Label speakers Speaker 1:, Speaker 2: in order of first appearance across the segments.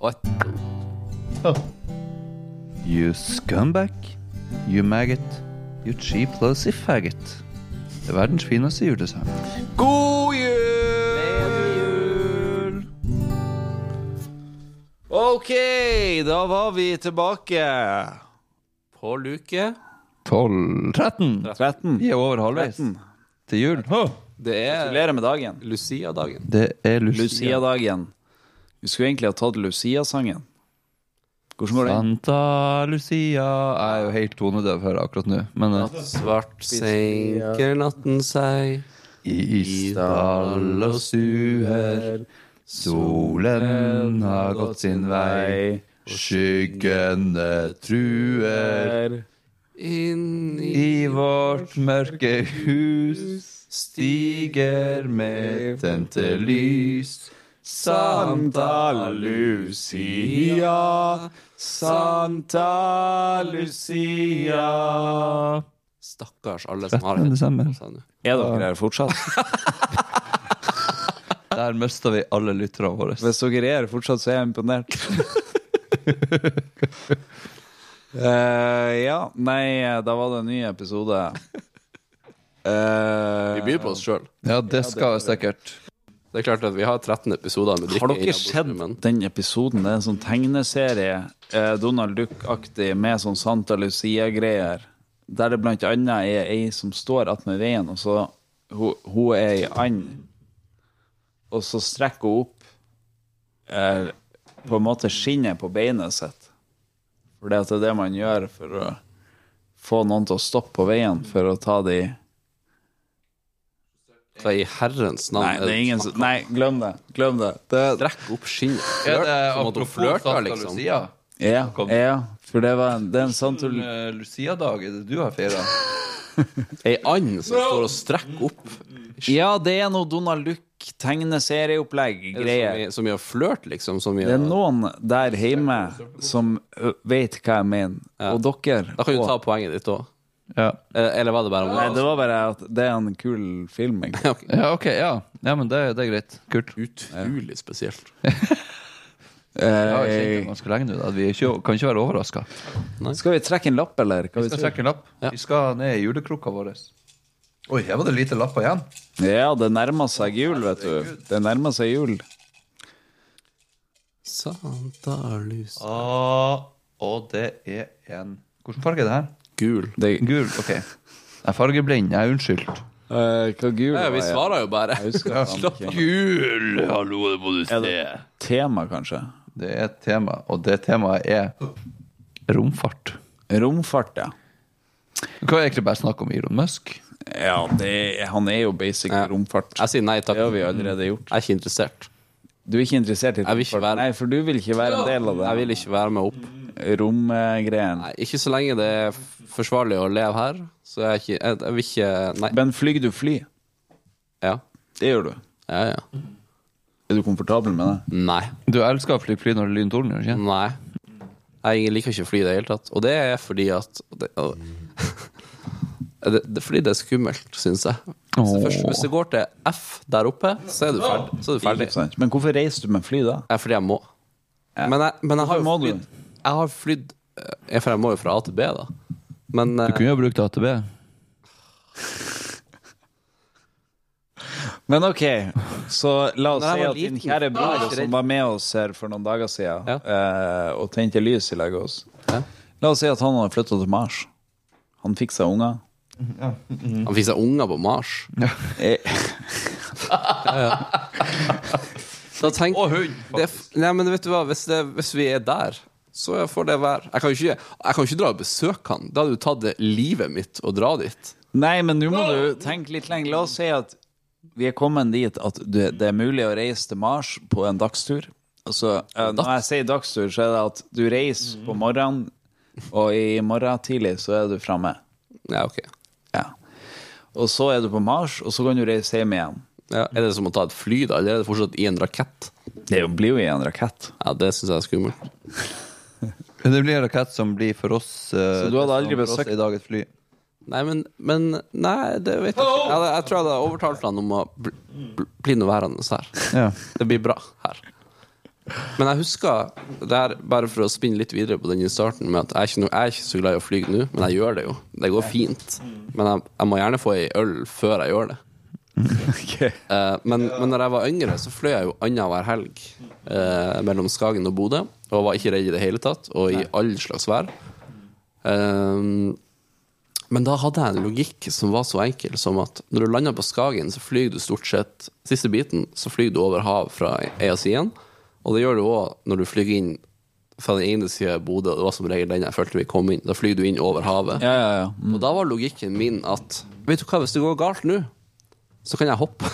Speaker 1: What?
Speaker 2: You scumbag. You maggot. You cheap lousy faggot. Det er verdens fineste julesang.
Speaker 1: God jul! Ok, da var vi tilbake på luke
Speaker 2: 12 13!
Speaker 1: 13.
Speaker 2: Vi er over halvveis
Speaker 1: 13.
Speaker 2: til jul.
Speaker 1: Det er
Speaker 3: Gratulerer med dagen.
Speaker 1: Lucia-dagen.
Speaker 2: Det er Lucia.
Speaker 3: Lucia-dagen. Vi skulle egentlig ha tatt Lucia-sangen. Hvordan går det?
Speaker 2: Santa Lucia Jeg er jo helt tonedøv her akkurat nå, men eh,
Speaker 1: Svart senker natten seg.
Speaker 2: I stall og stuer, solen har gått sin vei. Skyggene truer
Speaker 1: Inn i
Speaker 2: i vårt mørke hus. Stiger med tente lys. Santa Lucia, Santa Lucia.
Speaker 1: Stakkars alle som har
Speaker 2: 13.
Speaker 1: sånn. det.
Speaker 2: desember.
Speaker 3: Er dere her fortsatt?
Speaker 2: Der mista vi alle lytterne våre.
Speaker 3: Hvis dere er her fortsatt, så er jeg imponert. Eh, ja, nei, da var det en ny episode. Eh,
Speaker 1: Vi byr på oss sjøl.
Speaker 2: Ja, det skal jeg sikkert.
Speaker 1: Det er klart at vi har 13 episoder med drikke.
Speaker 3: har
Speaker 1: i
Speaker 3: dere sett
Speaker 1: laboratoriet, men
Speaker 3: den episoden? Det er en sånn tegneserie, eh, Donald Duck-aktig, med sånn Santa Lucia-greier. Der det blant annet er ei som står attmed veien, og så hun, hun er ei and. Og så strekker hun opp eh, på en måte skinnet på beinet sitt. For det at det er det man gjør for å få noen til å stoppe på veien for å ta de
Speaker 1: Hva i herrens navn
Speaker 3: Nei, det er ingen som Nei, glem det. Glem det. det
Speaker 1: Strekk opp skinnet. Flørt, som at hun flørter, liksom.
Speaker 2: Lucia?
Speaker 3: ja,
Speaker 2: Kom.
Speaker 3: ja, for det, var, en- det er en Santa Lu-
Speaker 2: Lucia-dag er det du har feira?
Speaker 1: Ei and som står og strekker opp.
Speaker 3: Ja, det er noe Donald Duck tegneserieopplegg
Speaker 1: Er det så
Speaker 3: greier.
Speaker 1: mye- Så mye flørt, liksom. Så mye,
Speaker 3: Det er noen der hjemme som ø, vet hva jeg mener. Og dere
Speaker 1: da kan du
Speaker 3: og-
Speaker 1: ta poenget ditt òg.
Speaker 2: Ja.
Speaker 1: Eller var det bare om
Speaker 3: Nei, det var bare at det er en kul film. Ikke?
Speaker 1: Ja, ok.
Speaker 2: ja, ok. Ja, ja men det, det er greit. Kult.
Speaker 1: Utrolig spesielt.
Speaker 2: Jeg har
Speaker 3: Eh,
Speaker 2: kjent det ganske lenge nå. da. Vi er ikke, kan ikke være overraska.
Speaker 3: skal vi trekke en lapp, eller? Hva vi
Speaker 2: Vi skal
Speaker 3: tror?
Speaker 2: trekke en lapp. Vi skal ned i julekrukka vår. Oi, her var det lite lapper igjen.
Speaker 3: ja, det nærmer seg jul, vet du. Det nærmer seg jul.
Speaker 1: Santa Luz.
Speaker 2: og det er en Hvilken E, farge er det her?
Speaker 1: Gul.
Speaker 3: Det,
Speaker 2: Gul. Ok. Jeg er fargeblind. Jeg er unnskyldt.
Speaker 3: eh, hva gul
Speaker 1: Ja, vi
Speaker 3: var jeg?
Speaker 1: svarer jo bare.
Speaker 3: husker faen
Speaker 1: Slapp
Speaker 3: ikke.
Speaker 1: av.
Speaker 2: Gul! Hallo, det må du
Speaker 3: Er det tema, kanskje?
Speaker 2: Det er et tema, og det temaet er romfart.
Speaker 3: Romfart, ja.
Speaker 2: Hva er egentlig bare snakk om Elon Musk?
Speaker 3: Ja, det, han er jo basic
Speaker 1: Ja.
Speaker 3: romfart.
Speaker 1: Jeg sier nei takk.
Speaker 3: Det har vi allerede gjort.
Speaker 1: Jeg er ikke interessert.
Speaker 3: Du er ikke interessert i
Speaker 1: Jeg vil ikke være-
Speaker 3: Nei, for du vil ikke være en del av det.
Speaker 1: Jeg vil ikke være med opp.
Speaker 3: Romgreien.
Speaker 1: Nei, ikke så lenge det er f- forsvarlig å leve her. Så jeg, er ikke, jeg, jeg vil ikke Nei.
Speaker 3: Men flyg du fly?
Speaker 1: Ja.
Speaker 3: Det gjør du.
Speaker 1: Ja, ja.
Speaker 3: Er du komfortabel med det?
Speaker 1: Nei.
Speaker 2: Du elsker å fly fly når det lyner torden, gjør du ikke?
Speaker 3: Mm.
Speaker 1: Nei. Jeg liker ikke å fly i det hele tatt. Og det er fordi at det, og- det, det, Fordi det er skummelt, syns jeg. Hvis det,
Speaker 2: Åh.
Speaker 1: først, hvis det går til F der oppe, så er du ferdig. Så er du ferdig.
Speaker 3: Ikke sant? Men hvorfor reiser du med fly da?
Speaker 1: Ja, fordi jeg må. Men jeg, men jeg har
Speaker 3: Hvorfor må du?
Speaker 1: flydd Jeg har flydd eh, For jeg må jo fra A til B, da. Men eh,
Speaker 2: Du kunne jo ha brukt AtB.
Speaker 3: Men ok, så la oss
Speaker 1: Når jeg
Speaker 3: si
Speaker 1: var
Speaker 3: at din
Speaker 1: liten,
Speaker 3: kjære
Speaker 1: var jeg
Speaker 3: bror
Speaker 1: ikke
Speaker 3: som
Speaker 1: redd.
Speaker 3: var med oss her for noen dager siden,
Speaker 1: Ja.
Speaker 3: eh, og tente lys i lag med oss
Speaker 1: Ja.
Speaker 3: La oss si at han hadde flytta til Mars. Han fikk seg unger.
Speaker 1: han fikk seg unger på Mars.
Speaker 3: Eh,
Speaker 1: Da tenk, det, er f- nei, men vet du hva, hvis, det, hvis vi er der, så får det være. Jeg kan jo ikke, jeg kan jo ikke dra og besøke han. Da hadde du tatt det livet mitt og dra dit.
Speaker 3: Nei, men nå må du tenke litt lenger. La oss si at vi er kommet dit at det det er mulig å reise til Mars på en dagstur. Altså, eh, når jeg sier dagstur, så er det at du reiser på morgenen, og i morgen tidlig så er du framme.
Speaker 1: Ja, ok.
Speaker 3: Ja. Og så er du på Mars, og så kan du reise hjem igjen.
Speaker 1: Ja, er det som å ta et fly, da? Eller er det fortsatt i en rakett?
Speaker 3: Det er jo- blir jo i en rakett.
Speaker 1: Ja, Det syns jeg er skummelt.
Speaker 2: Det blir en rakett som blir for oss eh,
Speaker 3: Så du hadde aldri
Speaker 2: som for oss
Speaker 3: besøkt-
Speaker 2: i dag et fly?
Speaker 1: Nei, men, men Nei, det vet jeg ikke. Jeg, jeg tror jeg hadde overtalt han om å bli, bli noe værende her.
Speaker 2: Ja.
Speaker 1: Det blir bra her. Men jeg husker det her, Bare for å spinne litt videre på den i starten med at jeg er ikke, noe, jeg er ikke så glad i å fly nå, men jeg gjør det jo. Det går fint. Men jeg, jeg må gjerne få ei øl før jeg gjør det.
Speaker 3: Ok.
Speaker 1: Eh, men, men når jeg var yngre, så fløy jeg jo annenhver helg eh, mellom Skagen og Bodø. Og var ikke redd i det hele tatt, og i all slags vær. Eh, men da hadde jeg en logikk som var så enkel som at når du lander på Skagen, så flyr du stort sett Siste biten, så flyr du over hav fra ei av sidene. Og det gjør du òg når du flyr inn fra den ene sida av Bodø, og det var som regel den jeg følte vi kom inn. Da flyr du inn over havet.
Speaker 3: Ja, ja, Mm. ja.
Speaker 1: Og da var logikken min at Vet du hva, hvis det går galt nå, så kan jeg hoppe.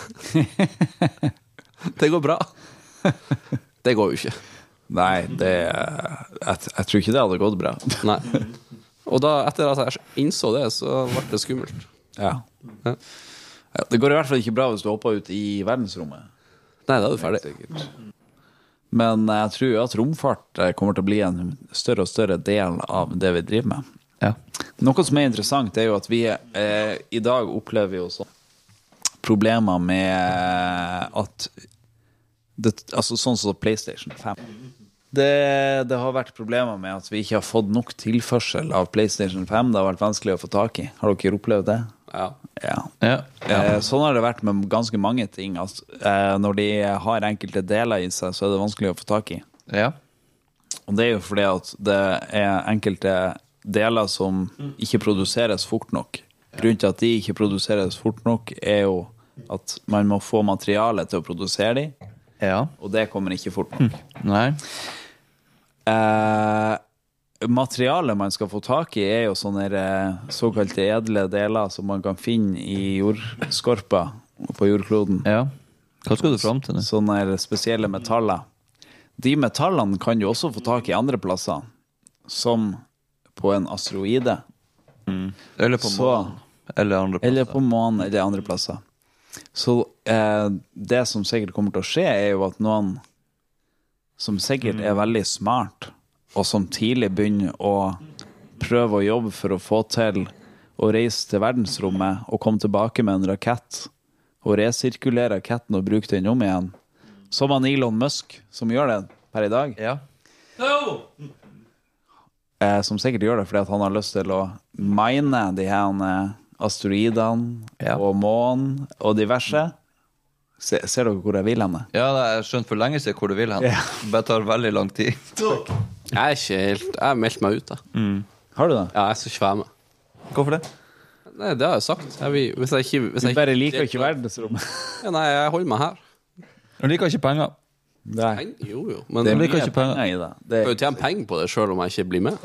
Speaker 1: det går bra. Det går jo ikke.
Speaker 3: Nei, det jeg, jeg tror ikke det hadde gått bra.
Speaker 1: Nei. Og da, etter at jeg innså det, så ble det skummelt.
Speaker 3: Ja.
Speaker 1: Ja.
Speaker 3: Ja, Det går i hvert fall ikke bra hvis du hopper ut i verdensrommet.
Speaker 1: Nei, da er du ferdig.
Speaker 3: Sikkert. Men jeg tror jo at romfart eh, kommer til å bli en større og større del av det vi driver med.
Speaker 2: Ja.
Speaker 3: Noe som er interessant, er jo at vi eh, i dag opplever jo sånn problemer med eh, at det, Altså sånn som PlayStation 5. Det, det har vært problemer med at vi ikke har fått nok tilførsel av PlayStation 5. Det har vært vanskelig å få tak i. Har dere opplevd det?
Speaker 1: Ja.
Speaker 3: Ja.
Speaker 2: Ja.
Speaker 3: Eh, Sånn har det vært med ganske mange ting. At, eh, når de har enkelte deler i seg, så er det vanskelig å få tak i.
Speaker 2: ja.
Speaker 3: Og det er jo fordi at det er enkelte deler som ikke produseres fort nok. Grunnen til at de ikke produseres fort nok, er jo at man må få materiale til å produsere de,
Speaker 2: ja.
Speaker 3: og det kommer ikke fort nok.
Speaker 2: Nei.
Speaker 3: Eh, materialet man skal få tak i, er jo sånne eh, såkalte edle deler som man kan finne i jordskorpa på jordkloden.
Speaker 2: Ja. Hva skal du fram til nå?
Speaker 3: sånne her spesielle metaller. De metallene kan du også få tak i andre plasser, som på en asteroide.
Speaker 2: Eller på
Speaker 3: Så-
Speaker 2: månen? Eller andre
Speaker 3: Eller
Speaker 2: plasser?
Speaker 3: på månen, eller andre plasser. Så eh, det som sikkert kommer til å skje, er jo at noen som sikkert
Speaker 2: Mm.
Speaker 3: er veldig smart, og som tidlig begynner å prøve å jobbe for å få til å reise til verdensrommet og komme tilbake med en rakett, og resirkulere raketten og bruke den om igjen, som han Elon Musk, som gjør det per i dag,
Speaker 2: Ja.
Speaker 3: eh, som sikkert gjør det fordi at han har lyst til å mine de her eh, asteroidene
Speaker 2: Ja.
Speaker 3: og månen og diverse. Se, ser dere hvor jeg vil hen?
Speaker 2: Ja, nei, jeg skjønte for lenge siden hvor du vil hen.
Speaker 3: Ja.
Speaker 2: Det bare tar veldig lang tid.
Speaker 1: Jeg er ikke helt Jeg har meldt meg ut, jeg.
Speaker 3: Har du det?
Speaker 1: Ja, jeg skal ikke være med.
Speaker 2: Hvorfor det?
Speaker 1: Nei, det har jeg sagt. Jeg, vil- hvis jeg ikke hvis
Speaker 3: Du
Speaker 1: jeg,
Speaker 3: bare liker ikke verdensrommet.
Speaker 1: Ja, Nei, jeg holder meg her.
Speaker 2: Du liker ikke penger.
Speaker 3: Nei.
Speaker 1: Nei, Jo, jo. Men
Speaker 3: Det er
Speaker 2: blir-
Speaker 1: jeg
Speaker 2: liker
Speaker 1: kan
Speaker 3: mye
Speaker 2: ikke penger.
Speaker 3: penger i det. Det,
Speaker 1: jo tjene penger på det sjøl om jeg ikke blir med.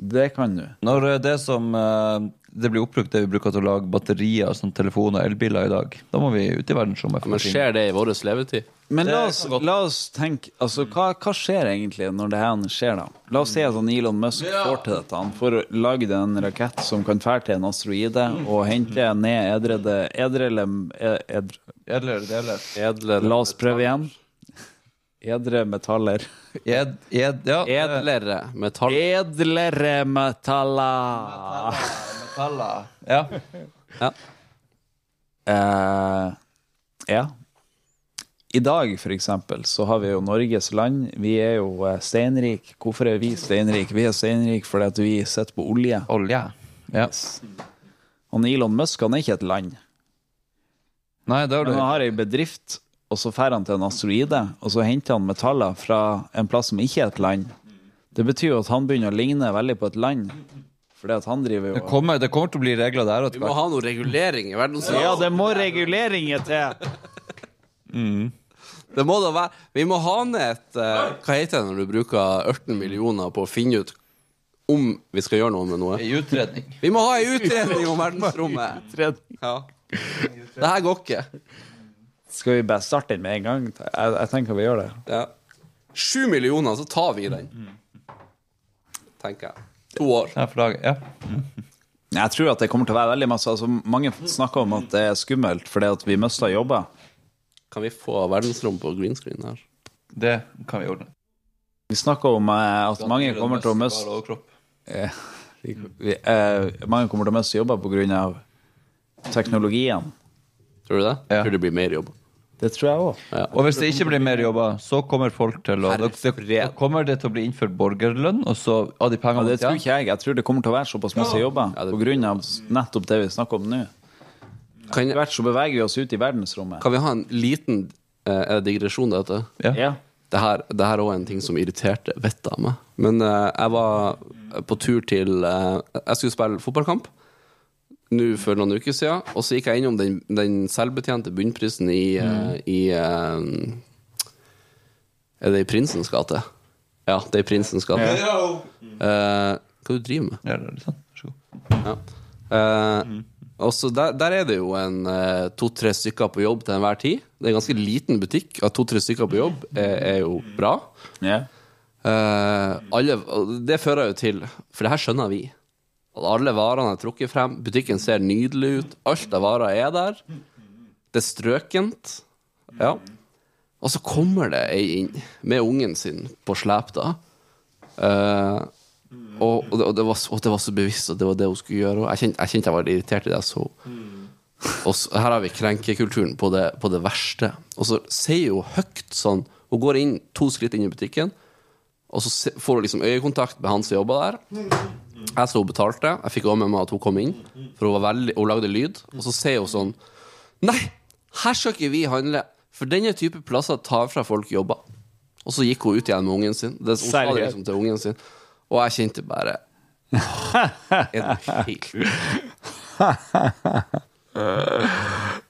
Speaker 3: det kan du.
Speaker 2: Når eh, det som eh, Det blir oppbrukt det vi bruker til å lage batterier som telefoner og elbiler i dag, da må vi ut i verdensrommet. for
Speaker 1: Men
Speaker 2: å finne-
Speaker 1: skjer det i vår levetid?
Speaker 3: Men
Speaker 2: Det
Speaker 3: la
Speaker 2: kan
Speaker 3: oss,
Speaker 2: godt.
Speaker 3: la oss tenke altså, hva, hva skjer egentlig når det her skjer, da? La oss si at han Elon Musk får til dette. Han får lagd en rakett som kan fære til en asteroide og hente ned edrede Edrele... e, Edre,
Speaker 2: Edler, deler.
Speaker 1: Edlere
Speaker 3: la oss prøve igjen. Edre metaller.
Speaker 2: Ed, ed, ja.
Speaker 1: Edlere metall...
Speaker 3: Edlere metaller!
Speaker 2: Metaller. Ja.
Speaker 3: Eh, ja. I dag, for eksempel, så har vi jo Norges land. Vi er jo eh, steinrik. Hvorfor er vi steinrik? Vi er steinrik fordi at vi sitter på olje.
Speaker 2: Olje. Ja.
Speaker 3: Og Elon Musk han er ikke et land.
Speaker 2: Nei, det har
Speaker 3: Men
Speaker 2: du.
Speaker 3: han har ei bedrift, og så drar han til en asteroide, og så henter han metaller fra en plass som ikke er et land. Det betyr jo at han begynner å ligne veldig på et land, fordi at han driver jo
Speaker 2: Det kommer, det kommer til å bli regler der
Speaker 1: Vi
Speaker 2: etter
Speaker 1: må
Speaker 2: hvert.
Speaker 1: ha noe regulering i verden. så-
Speaker 3: Ja, det må reguleringer til!
Speaker 1: Det må da være Vi må ha ned et eh, Hva heter det når du bruker 18 millioner på å finne ut om vi skal gjøre noe med noe?
Speaker 2: I utredning.
Speaker 1: Vi må ha ei utredning om verdensrommet! Ja. Det her går ikke.
Speaker 3: Skal vi bare starte den med en gang? Jeg, jeg tenker vi gjør det.
Speaker 1: Ja. Sju millioner, så tar vi den. Tenker jeg. To år.
Speaker 2: Ja, for dag. Ja.
Speaker 3: Jeg tror at det kommer til å være veldig masse altså, Mange snakker om at det er skummelt fordi at vi mister jobber.
Speaker 1: Kan vi få verdensrom på green screen her?
Speaker 2: Det kan vi ordne.
Speaker 3: Vi snakker om eh, at mange kommer til å miste eh, vi- eh, Mange kommer til å miste jobber pga. teknologien.
Speaker 1: Tror du det?
Speaker 2: Ja.
Speaker 1: Tror det blir mer jobb.
Speaker 3: Det tror jeg òg.
Speaker 2: Og hvis det ikke blir mer jobber, så kommer folk til å Da da kommer det til å bli innført borgerlønn, og så av de
Speaker 3: Ja,
Speaker 2: pengene
Speaker 3: det tror ikke jeg. Jeg tror det kommer til å være såpass masse jobber
Speaker 1: Ja, det-
Speaker 3: på grunn av s- nettopp det vi snakker om nå.
Speaker 1: Kan,
Speaker 3: Etter hvert så beveger vi oss ut i verdensrommet.
Speaker 1: kan vi ha en liten eh, er det digresjon, dette?
Speaker 2: Ja.
Speaker 3: Ja.
Speaker 1: Det her, det her er også en ting som irriterte vettet av meg. Men eh, jeg var på tur til eh, Jeg skulle spille fotballkamp nå for noen uker siden, og så gikk jeg innom den, den selvbetjente bunnprisen i, eh, i eh, Er det i Prinsens gate? Ja, det er i Prinsens gate. Eh, hva du driver du med?
Speaker 2: Ja, det er litt sånn. Vær så god.
Speaker 1: Ja. Eh, og så der, der er det jo en eh, to-tre stykker på jobb til enhver tid. Det er en ganske liten butikk. At to-tre stykker på jobb er, er jo bra.
Speaker 3: ja.
Speaker 1: Eh, alle, og det fører jo til For det her skjønner vi. At alle varene er trukket frem. Butikken ser nydelig ut. Alt av varer er der. Det er strøkent. Ja. Og så kommer det ei inn med ungen sin på slep, da. Eh, og, og, det, og, det var, så- og det var så bevisst, og det var det hun skulle gjøre. Og jeg kjente jeg, kjente jeg var litt irritert i det jeg så. Og så, her har vi krenkekulturen på det, på det verste. Og så sier hun høyt sånn Hun går inn to skritt inn i butikken, og så se- får hun liksom øyekontakt med han som jobber der. Jeg så hun betalte. Jeg fikk også med meg at hun kom inn, for hun, var veldig, hun lagde lyd. Og så sier hun sånn Nei, her skal ikke vi handle, for denne type plasser tar fra folk jobber. Og så gikk hun ut igjen med ungen sin. Det, hun sa det
Speaker 3: Seriøst?
Speaker 1: liksom til ungen sin. Og jeg kjente bare Er du helt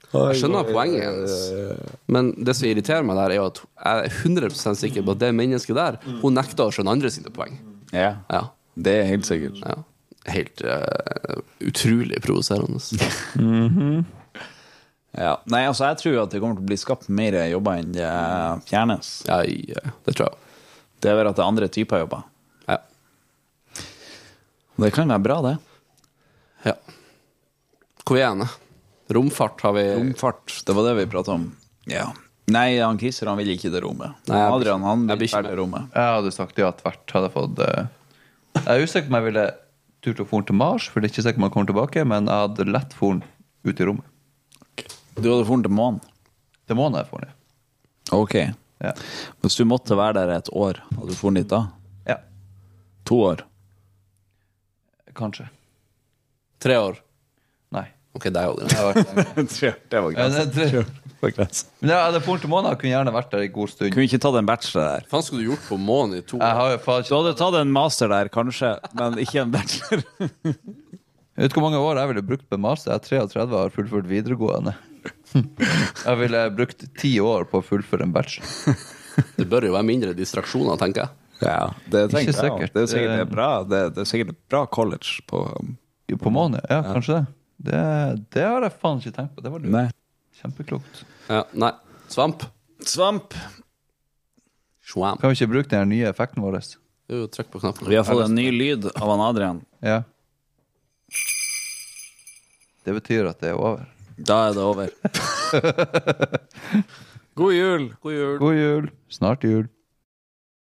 Speaker 1: Jeg skjønner poenget hennes, men det som irriterer meg der, er jo at jeg er 100 sikker på at det mennesket der, hun nekta å skjønne andre sine poeng.
Speaker 3: ja.
Speaker 1: Ja,
Speaker 3: Det er helt sikkert.
Speaker 1: ja. Helt eh, utrolig provoserende.
Speaker 3: Ja. Nei, altså, jeg tror at det kommer til å bli skapt mer jobber enn det fjernes.
Speaker 1: Ja, ja, det tror jeg.
Speaker 3: Det er vel at det er andre typer jobber.
Speaker 1: Ja.
Speaker 3: Og Det kan være bra, det.
Speaker 1: ja. Hvor er jeg hen? Romfart har vi
Speaker 3: Romfart, det var det vi pratet om. Ja. Nei, han Christer han vil ikke det rommet.
Speaker 1: Nei, jeg-
Speaker 3: Adrian han
Speaker 1: jeg
Speaker 3: vil
Speaker 1: blir ikke
Speaker 3: ikke det rommet.
Speaker 2: Jeg hadde sagt ja tvert. Hadde jeg fått eh, Jeg er usikker om jeg ville turt å dra til Mars, for det er ikke sikkert man kommer tilbake, men jeg hadde lett dratt ut i rommet.
Speaker 3: Du hadde dratt til månen.
Speaker 2: Det må jeg dra,
Speaker 3: Ok.
Speaker 2: ja.
Speaker 3: Hvis du måtte være der et år, hadde du dratt dit da?
Speaker 2: ja.
Speaker 3: To år?
Speaker 2: Kanskje.
Speaker 1: tre år.
Speaker 2: Nei.
Speaker 1: Ok, det er jo det.
Speaker 2: Jeg har vært der.
Speaker 3: Tre år, det var
Speaker 2: Ja, det er tre.
Speaker 3: var grensen.
Speaker 2: Men jeg hadde dratt til månen. Jeg kunne gjerne vært der en god stund.
Speaker 3: Kunne vi ikke tatt en bachelor der.
Speaker 1: Hva faen skulle du gjort på månen i to
Speaker 2: Jeg
Speaker 1: år?
Speaker 2: har jo faen
Speaker 3: Du
Speaker 2: ikke
Speaker 3: hadde tatt en master der, kanskje, men ikke en bachelor.
Speaker 2: Jeg vet ikke hvor mange år jeg ville brukt på master. Jeg er 33 og har fullført videregående. Jeg ville brukt ti år på å fullføre en bachelor.
Speaker 1: Det bør jo være mindre distraksjoner, tenker jeg.
Speaker 3: Ja, det
Speaker 2: Ikke
Speaker 3: tenker jeg også.
Speaker 2: sikkert.
Speaker 3: Det er sikkert et bra, det, det er sikkert et bra college på
Speaker 2: Jo, På månen, ja. Kanskje det. Det, det har jeg faen ikke tenkt på. Det var lurt.
Speaker 3: Nei.
Speaker 2: Kjempeklokt.
Speaker 1: Ja, nei. Svamp?
Speaker 3: Svamp!
Speaker 1: Svamp.
Speaker 2: Kan vi ikke bruke den her nye effekten vår?
Speaker 1: Jo, trykk på knappen.
Speaker 3: Vi har fått en ny lyd av han Adrian.
Speaker 2: Ja. Det betyr at det er over.
Speaker 3: Da er det over. God jul!
Speaker 1: God jul.
Speaker 2: God jul. Snart jul.